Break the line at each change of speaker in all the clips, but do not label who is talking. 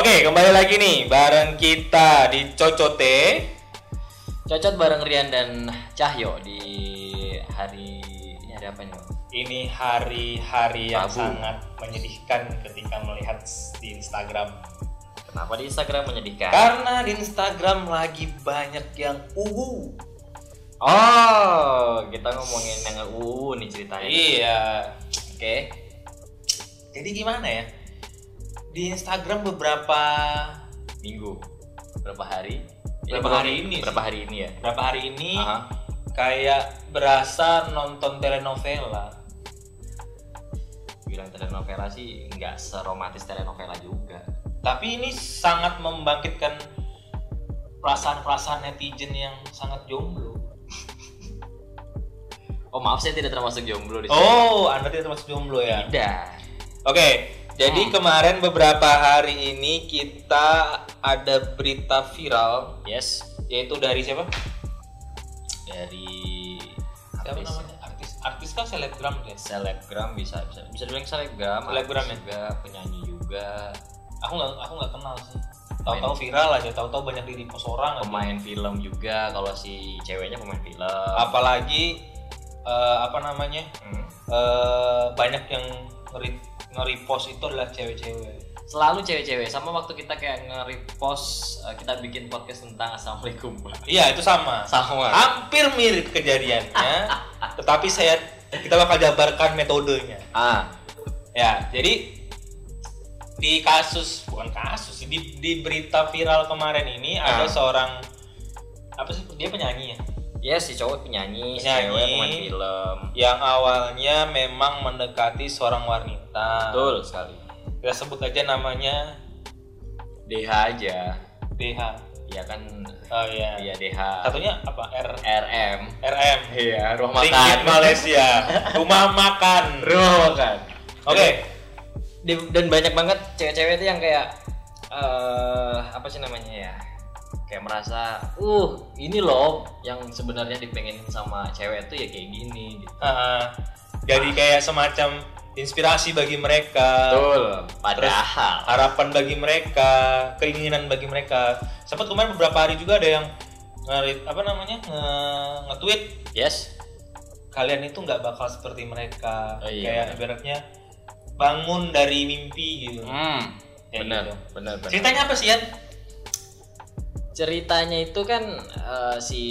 lagi nih bareng kita di Cocote.
Cocot bareng Rian dan Cahyo di hari ini hari apa ini? Bang?
Ini hari-hari yang
Rabu.
sangat menyedihkan ketika melihat s- di Instagram.
Kenapa di Instagram menyedihkan?
Karena di Instagram lagi banyak yang uwu.
Oh, kita ngomongin yang UU nih ceritanya.
Iya.
Oke.
Jadi gimana ya? Di Instagram beberapa
Minggu. Berapa hari?
Berapa
belum-
hari ini sih?
Berapa hari ini ya?
berapa hari ini
Aha.
kayak berasa nonton telenovela.
Bilang telenovela sih nggak seromantis telenovela juga.
Tapi ini sangat membangkitkan perasaan-perasaan netizen yang sangat jomblo.
Oh maaf saya tidak termasuk jomblo di sini.
Oh, Anda tidak termasuk jomblo ya?
Tidak.
Oke, jadi
Hmm.
kemarin beberapa hari ini kita ada berita viral
Yes.
yaitu dari siapa?
Dari
Siapa
artis.
namanya? Artis. Artis kan selebgram ya?
selebgram bisa bisa bisa dibilang selebgram
Selebgram
artis
ya?
juga penyanyi juga
Aku nggak aku nggak kenal sih. Tahu-tahu viral aja, tahu-tahu banyak di repost orang. aja.
pemain film juga kalau si ceweknya pemain film
Apalagi eh, apa namanya?
Hmm.
eh, banyak yang ngeri nge-repost itu adalah cewek-cewek.
selalu cewek-cewek sama waktu kita kayak nge-repost eh, kita bikin podcast tentang assalamualaikum
Iya, itu sama.
sama
Hampir mirip kejadiannya, tetapi saya kita bakal jabarkan metodenya.
ah
Ya, jadi di kasus bukan kasus sih, di, di berita viral kemarin ini ada
Ah.
seorang apa sih dia penyanyi ya
ya si cowok penyanyi, si
Penyanyi.
cewek pemain film
yang awalnya memang mendekati seorang wanita.
betul sekali
Kita sebut aja namanya
DH aja
DH.
ya kan
Oh iya.
iya DH
Satunya apa? R
RM
RM.
iya rumah
Ringgit Malaysia. Rumah makan.
rumah makan
Oke.
Di- dan banyak banget cewek-cewek itu yang kayak eh apa sih namanya ya kayak merasa uh ini loh yang sebenarnya dipengenin sama cewek itu ya kayak gini gitu
Ah, jadi kayak semacam inspirasi bagi mereka,
betul Eh, padahal
harapan bagi mereka, keinginan bagi mereka. Sempat kemarin beberapa hari juga ada yang nge apa namanya nge- nge-tweet
yes
kalian itu nggak bakal seperti mereka.
Oh, iya,
kayak
benar.
ibaratnya bangun dari mimpi gitu.
hmm,
Kayak
benar
gitu.
benar benar
Ceritanya apa sih Yan?
ceritanya itu kan eh, si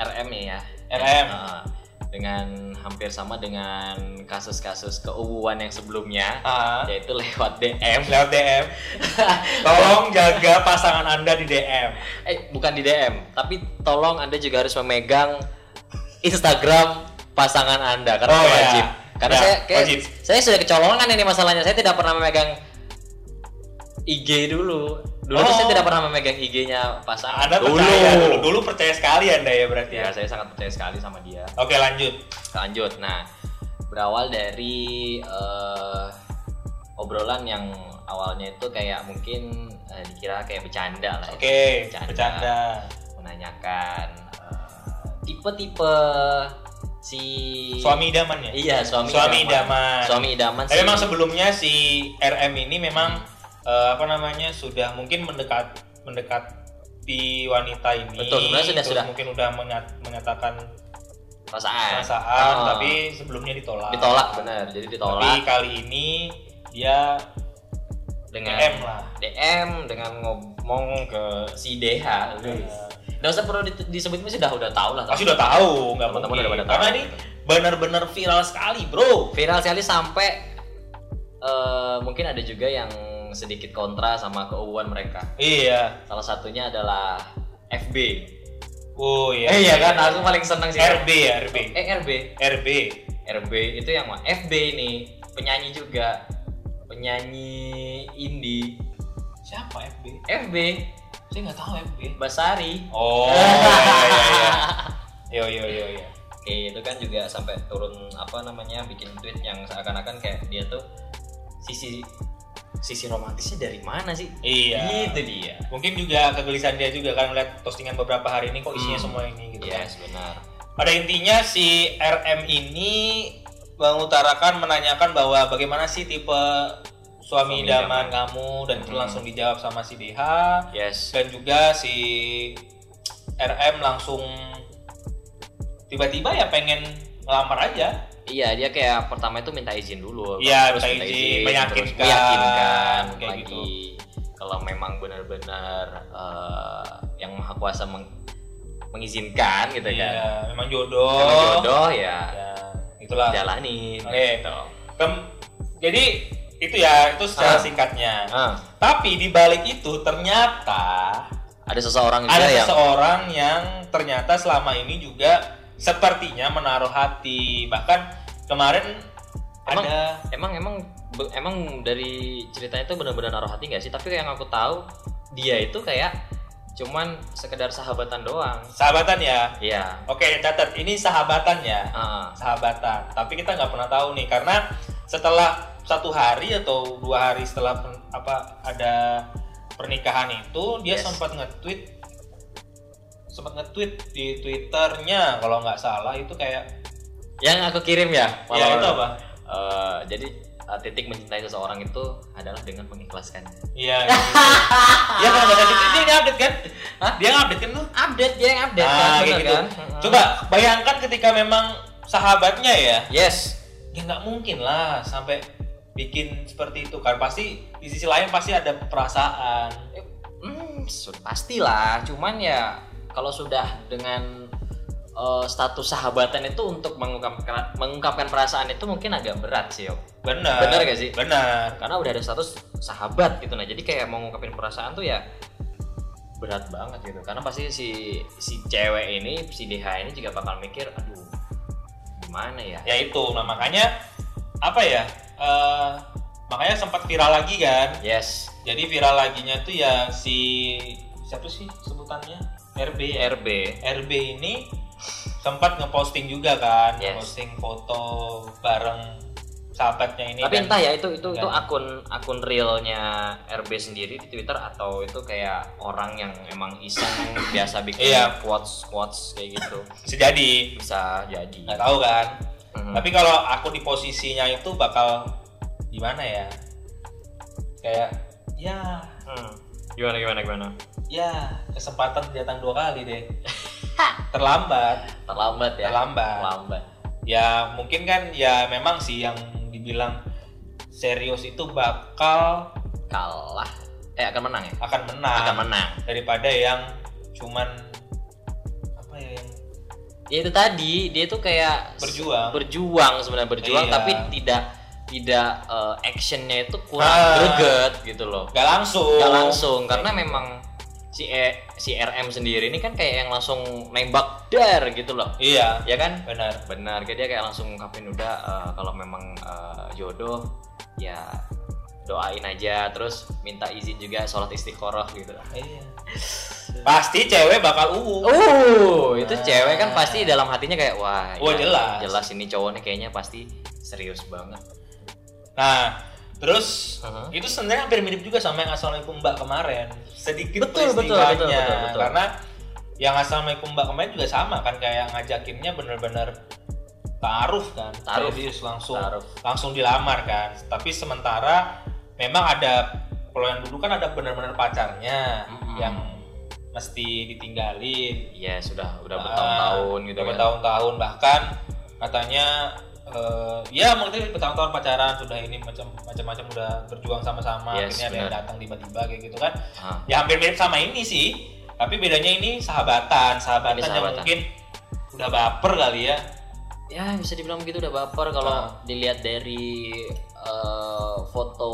RM ya
RM.
Eh, dengan hampir sama dengan kasus-kasus keuuan yang sebelumnya
Ah,
yaitu lewat DM
lewat DM. Tolong jaga pasangan anda di DM.
Eh, bukan di DM, tapi tolong Anda juga harus memegang Instagram pasangan Anda karena
Oh,
itu
iya.
wajib. Karena
Iya,
saya kayak-
wajib.
saya sudah kecolongan ini masalahnya. Saya tidak pernah memegang IG dulu. Dulu tuh
Oh.
saya tidak pernah memegang IG-nya pasangan.
Anda percaya dulu, dulu percaya sekali anda ya berarti. Ya.
Ya, saya sangat percaya sekali sama dia.
Oke lanjut.
Lanjut. Nah, berawal dari eh, obrolan yang awalnya itu kayak mungkin eh, dikira kayak bercanda lah. ya.
Oke,
Bercanda.
bercanda.
menanyakan eh, tipe-tipe si
Suami idaman ya?
iya suami
Suami idaman.
suami idaman
Tapi
si-
memang sebelumnya si RM ini memang eh, apa namanya sudah mungkin mendekat mendekati wanita ini.
Betul, sebenarnya sudah-
terus
sudah.
mungkin udah mengat- menyatakan
perasaan
perasaan,
Oh.
tapi sebelumnya ditolak.
ditolak benar jadi
Tapi
ditolak
kali ini dia
dengan
DM lah.
DM dengan ngomong ke si DH
eh,
nggak usah perlu di- disebutin sih udah udah tahu lah
pasti udah tahu, nggak
Teman-teman
mungkin.
udah pada tahu.
Karena ini benar-benar viral sekali, bro.
viral sekali sampai eh, mungkin ada juga yang sedikit kontra sama keuuan mereka
Iya.
salah satunya adalah FB
Oh iya.
eh iya kan aku paling seneng sih
RB ya, RB.
eh RB
RB.
RB itu yang mana? FB ini penyanyi juga penyanyi indie
Siapa FB?
FB
Saya nggak tahu FB.
Basari
Oh, iya, iya, iya. Yo, yo, yo, yo.
Oke, itu kan juga sampai turun apa namanya bikin tweet yang seakan-akan kayak dia tuh sisi sisi romantisnya dari mana sih
Iya.
itu dia
Mungkin juga kegelisahan dia juga kan melihat postingan beberapa hari ini kok isinya
Hmm.
semua ini gitu.
Iya, benar
Pada intinya si RM ini mengutarakan menanyakan bahwa bagaimana sih tipe suami
Suami
idaman
idaman.
kamu dan itu
Hmm.
langsung dijawab sama si DH
Yes.
dan juga si RM langsung tiba-tiba ya pengen ngelamar aja
Iya, dia kayak pertama itu minta izin dulu.
Iya,
terus
minta izin, meyakinkan,
terus meyakinkan
kayak
lagi
gitu.
kalau memang benar-benar eh, yang maha kuasa meng- mengizinkan gitu kan.
Iya, memang jodoh,
Kalau jodoh ya
Ya, itulah
jalanin
Oke.
gitu.
Kem- jadi itu ya itu secara
Ah.
singkatnya
Ah,
tapi di balik itu ternyata
ada seseorang juga
ada
yang
seseorang yang ternyata selama ini juga sepertinya menaruh hati bahkan kemarin
Emang-
ada
emang emang be- emang dari ceritanya itu benar-benar naruh hati nggak sih? Tapi yang aku tahu dia itu kayak cuman sekedar sahabatan doang.
sahabatan ya
Iya.
oke catat ini sahabatan ya
Ah,
sahabatan tapi kita nggak pernah tahu nih karena setelah satu hari atau dua hari setelah pen- apa ada pernikahan itu dia
Yes.
sempat nge-tweet sempat nge-tweet di twitternya kalau nggak salah itu kayak
yang aku kirim ya.
ya
walau-
itu apa
Eh, jadi eh, titik mencintai seseorang itu adalah dengan mengikhlaskannya.
Iya. gitu. Iya kan bahasa Inggris. dia nggak update kan?
Hah?
Dia nggak update kan lu?
Update kan, dia yang update
Nah, kayak gitu.
Hmm.
Coba bayangkan ketika memang sahabatnya ya,
Yes.
ya nggak mungkin lah sampai bikin seperti itu kan. Pasti di sisi lain pasti ada perasaan.
Hmm, sudah pastilah. Cuman ya kalau sudah dengan eh, status sahabatan itu untuk mengungkapkan mengungkapkan perasaan itu mungkin agak berat sih, yo.
Benar.
Benar gak sih?
Benar.
Karena udah ada status sahabat gitu nah. Jadi kayak mau ngungkapin perasaan tuh ya berat banget gitu. Karena pasti si si cewek ini, si DH ini juga bakal mikir, aduh gimana ya?
Ya itu. Nah makanya apa ya? Eh, makanya sempat viral lagi kan.
Yes.
Jadi viral laginya tuh ya si siapa sih sebutannya? RB ya.
RB.
RB ini sempat ngeposting juga kan,
Yes.
posting foto bareng sahabatnya ini. kan
Tapi
dan-
entah ya itu itu itu
dan-
akun akun realnya RB sendiri di Twitter atau itu kayak orang yang emang iseng biasa bikin
Iya.
quotes quotes kayak gitu
bisa jadi
bisa jadi.
nggak tahu kan.
Mhm.
Tapi kalau aku di posisinya itu bakal gimana ya? Kayak ya
Hmm. gimana gimana gimana?
ya kesempatan datang dua kali deh. terlambat,
Terlambat ya.
terlambat.
Terlambat.
Ya mungkin kan ya memang sih yang dibilang serius itu bakal
Kalah. Eh akan menang ya.
akan menang.
Akan menang.
daripada yang cuman apa ya yang
Ya itu tadi dia tuh kayak
berjuang
berjuang sebenarnya berjuang
Iya.
tapi tidak tidak eh, actionnya itu kurang
Ah.
greget gitu loh.
nggak langsung
nggak langsung karena memang si E- si RM sendiri ini kan kayak yang langsung nembak dar gitu loh
iya
ya kan
benar
benar kayak dia kayak langsung ngungkapin udah eh, kalau memang eh, jodoh ya doain aja terus minta izin juga sholat istiqoroh gitu
iya pasti cewek bakal uwu
uh itu
Nah.
cewek kan pasti dalam hatinya kayak wah iya,
Wah, jelas.
jelas ini cowoknya kayaknya pasti serius banget
nah terus
Heeh.
itu sebenarnya hampir mirip juga sama yang assalamualaikum mbak kemarin sedikit
Betul, betul,
peristiwanya.
betul, betul, betul.
karena yang assalamualaikum mbak kemarin juga sama kan kayak ngajakinnya bener-bener taruh kan
Taaruf.
Serius, langsung
taruh
langsung dilamar kan tapi sementara memang ada kalau yang dulu kan ada benar-benar pacarnya
Mm-mm.
yang mesti ditinggalin
ya sudah udah
Ah,
bertahun-tahun gitu
udah
kan
bertahun-tahun bahkan katanya eh, ya maksudnya bertahun-tahun pacaran sudah ini macam macam-macam udah berjuang sama-sama
Yes,
akhirnya ada yang
benar.
datang tiba-tiba kayak gitu kan
Ah.
ya hampir mirip sama ini sih tapi bedanya ini sahabatan sahabatan,
Ini
yang
sahabatan.
mungkin udah baper kali ya
ya bisa dibilang begitu udah baper kalau
Ah.
dilihat dari eh, foto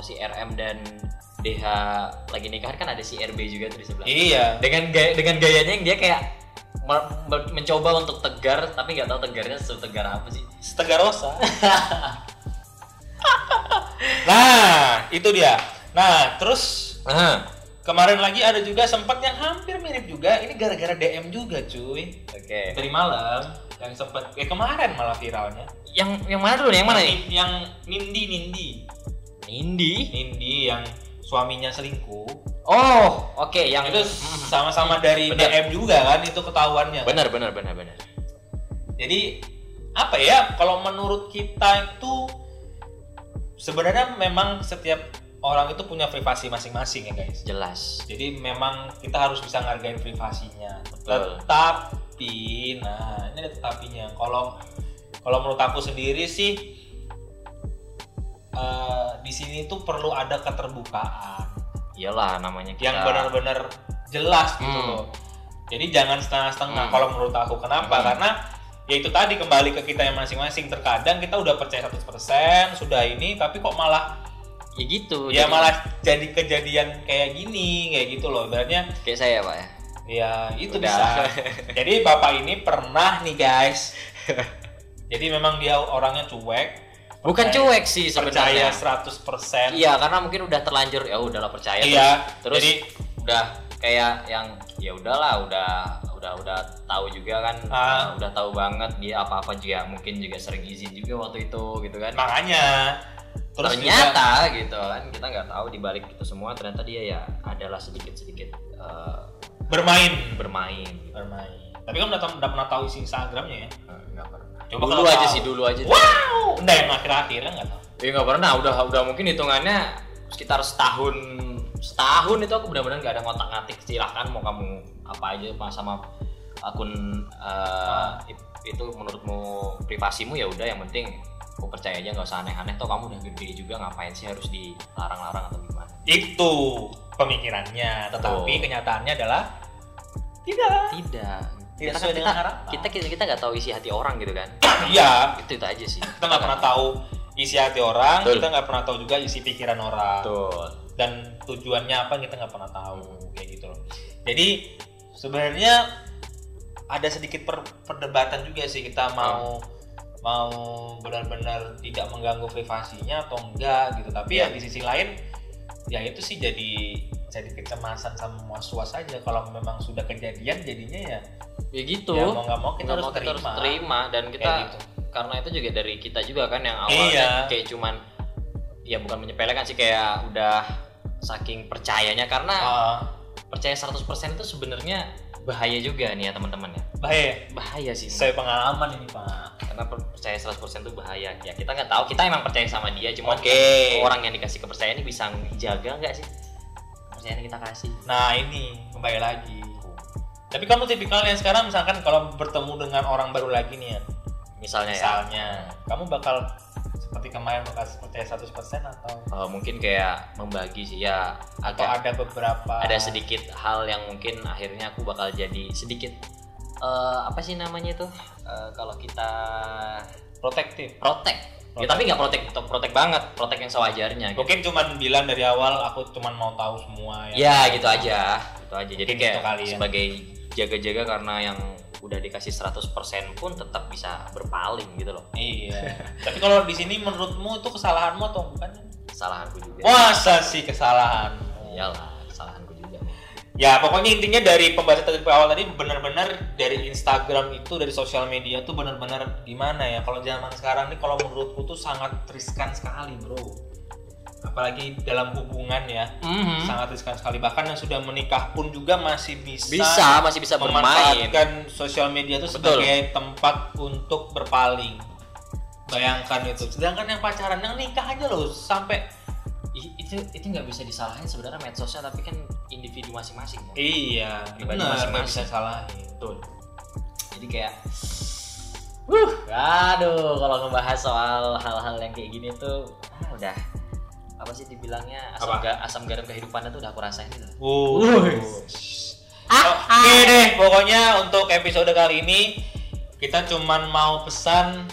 si RM dan DH lagi nikahan kan ada si RB juga tuh di sebelah
iya
dengan gaya dengan gayanya yang dia kayak me- me- mencoba untuk tegar tapi nggak tahu tegarnya setegar apa sih
Stegarosa. nah, itu dia. Nah, terus kemarin lagi ada juga sempat yang hampir mirip juga. Ini gara-gara DM juga, cuy.
oke
Dari Eh, malam yang sempat eh kemarin malah viralnya.
yang yang mana dulu nih yang mana nih
Yang- Yang Nindi Nindi.
Nindi
Nindi yang suaminya selingkuh.
oh oke yang Hmm.
itu sama-sama dari
Benar.
DM juga kan itu ketahuannya. kan?
benar benar benar benar
Jadi apa ya kalau menurut kita itu sebenarnya memang setiap orang itu punya privasi masing-masing ya guys
jelas
jadi memang kita harus bisa ngargain privasinya
Betul.
tetapi nah ini ada tetapinya kalau kalau menurut aku sendiri sih eh, di sini tuh perlu ada keterbukaan
iyalah namanya kita
yang benar-benar jelas gitu
Iya. Hmm.
loh. Jadi jangan setengah-setengah
Hmm.
kalau menurut aku. Kenapa?
Hmm.
Karena ya itu tadi kembali ke kita yang masing-masing. Terkadang kita udah percaya 100% sudah ini tapi kok malah
ya gitu
ya
jadi
malah jadi kejadian kayak gini, kayak gitu loh. Ibaratnya
kayak saya pak ya
ya itu
Udah.
bisa. Jadi bapak ini pernah nih guys. Jadi memang dia orangnya cuek,
bukan
Percaya-
cuek sih
percaya
sebenarnya
100%.
ya. iya karena mungkin udah terlanjur ya udahlah percaya
Kan Iya.
terus
Jadi
udah kayak yang ya udahlah udah udah udah tahu juga kan
Ah.
udah tahu banget dia apa apa juga mungkin juga sering izin juga waktu itu gitu kan
makanya Nah, terus juga-
ternyata gitu kan kita nggak tahu di balik itu semua ternyata dia ya adalah sedikit sedikit
bermain
bermain gitu.
bermain. Tapi kamu udah, tau- udah pernah tahu isi Instagramnya ya?
Eh, nggak pernah
Coba
dulu
kalau
aja
tahu.
sih dulu aja
Wow, udah yang akhir-akhirnya nggak tahu.
ya nggak pernah udah udah mungkin hitungannya sekitar setahun setahun itu aku benar-benar nggak ada ngotak ngatik silahkan mau kamu apa aja Pak, sama akun eh, i- itu menurutmu privasimu ya udah yang penting aku percaya aja nggak usah aneh-aneh toh kamu udah gede juga ngapain sih harus dilarang-larang atau gimana
Itu pemikirannya, tetapi
Betul.
kenyataannya adalah tidak.
tidak
Tidak
Karena
sesuai
kita,
dengan harapan.
kita kita kita nggak tahu isi hati orang gitu kan
Iya,
itu itu aja sih
kita nggak pernah tahu isi hati orang,
Betul.
kita nggak pernah tahu juga isi pikiran orang
betul
dan tujuannya apa kita nggak pernah tahu kayak gitu loh. Jadi sebenarnya ada sedikit per- perdebatan juga sih kita mau mau benar-benar tidak mengganggu privasinya atau enggak gitu. Tapi ya di sisi lain ya itu sih jadi jadi kecemasan sama was was aja kalau memang sudah kejadian jadinya ya,
ya gitu
ya mau nggak mau kita
Nggak
harus terima,
mau terima dan kita
kayak gitu.
karena itu juga dari kita juga kan yang awalnya
Iya.
kayak cuman ya bukan menyepelekan sih kayak udah saking percayanya karena
Ah,
percaya 100% itu sebenarnya bahaya juga nih ya teman-teman ya
bahaya.
bahaya sih ini.
Saya pengalaman ini pak.
karena per- percaya 100% itu bahaya ya kita nggak tahu kita emang percaya sama dia cuman
Oke.
orang yang dikasih kepercayaan ini bisa jaga nggak sih kepercayaan yang kita kasih
Nah ini kembali lagi. Tapi kamu tipikal yang sekarang misalkan kalau bertemu dengan orang baru lagi nih ya,
misalnya ya
misalnya, kamu bakal seperti kemarin bakal percaya 100% atau
eh, mungkin kayak membagi sih ya
atau
agak
ada beberapa
ada sedikit hal yang mungkin akhirnya aku bakal jadi sedikit eh, apa sih namanya itu Eh, kalau kita
protektif.
protek
Protek.
Ya, tapi nggak protek protek banget protek yang sewajarnya gitu.
Mungkin cuman bilang dari awal aku cuman mau tahu semua
ya gitu aja gitu aja jadi
Mungkin
kayak
gitu kali ya.
sebagai jaga-jaga karena yang udah dikasih 100% pun tetap bisa berpaling gitu loh
Iya. Tapi kalau di sini menurutmu itu kesalahanmu atau bukan?
Iya. kesalahanku juga
Masa sih kesalahan?
iyalah kesalahanku juga
Ya pokoknya intinya dari pembahasan tadi awal tadi benar-benar dari Instagram itu dari sosial media tuh benar-benar gimana ya kalau zaman sekarang nih kalau menurutku tuh sangat riskan sekali bro apalagi dalam hubungan ya
Hmm.
sangat riskan sekali bahkan yang sudah menikah pun juga masih bisa,
bisa masih bisa bermain
memanfaatkan sosial media itu
Betul.
sebagai tempat untuk berpaling bayangkan itu sedangkan yang pacaran yang nikah aja loh sampai
I- itu itu nggak bisa disalahin sebenarnya medsosnya tapi kan individu masing-masing ya.
iya
Pribadi
benar nggak bisa
masing-masing.
salahin
Betul. Jadi kayak Wuh, aduh kalau ngebahas soal hal-hal yang kayak gini tuh ah, udah apa sih dibilangnya asam,
Apa?
ga- asam garam kehidupannya tuh udah aku rasain gitu.
Wuh.
Ah,
Oke deh, pokoknya untuk episode kali ini kita cuman mau pesan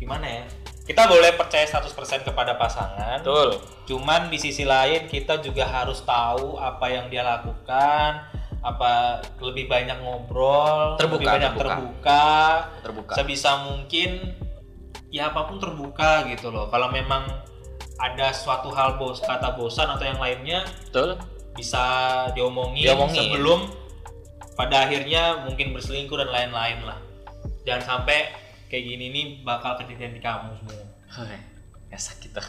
gimana ya? Kita boleh percaya 100% kepada pasangan.
Betul.
Cuman di sisi lain kita juga harus tahu apa yang dia lakukan, apa lebih banyak ngobrol,
Terbuka,
lebih banyak
terbuka.
terbuka,
Terbuka.
sebisa mungkin ya apapun terbuka gitu loh. Kalau memang ada suatu hal bos kata bosan atau yang lainnya
Betul.
bisa diomongin,
Diomongin.
sebelum pada akhirnya mungkin berselingkuh dan lain-lain lah. Jangan sampai kayak gini nih bakal kejadian di kamu semua.
Ya sakit tuh.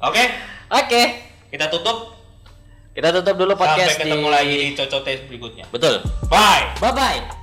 Oke,
Oke,
kita tutup.
kita tutup dulu podcast
Sampai ketemu
di-
lagi di Cocotes berikutnya.
Betul.
Bye.
Bye bye.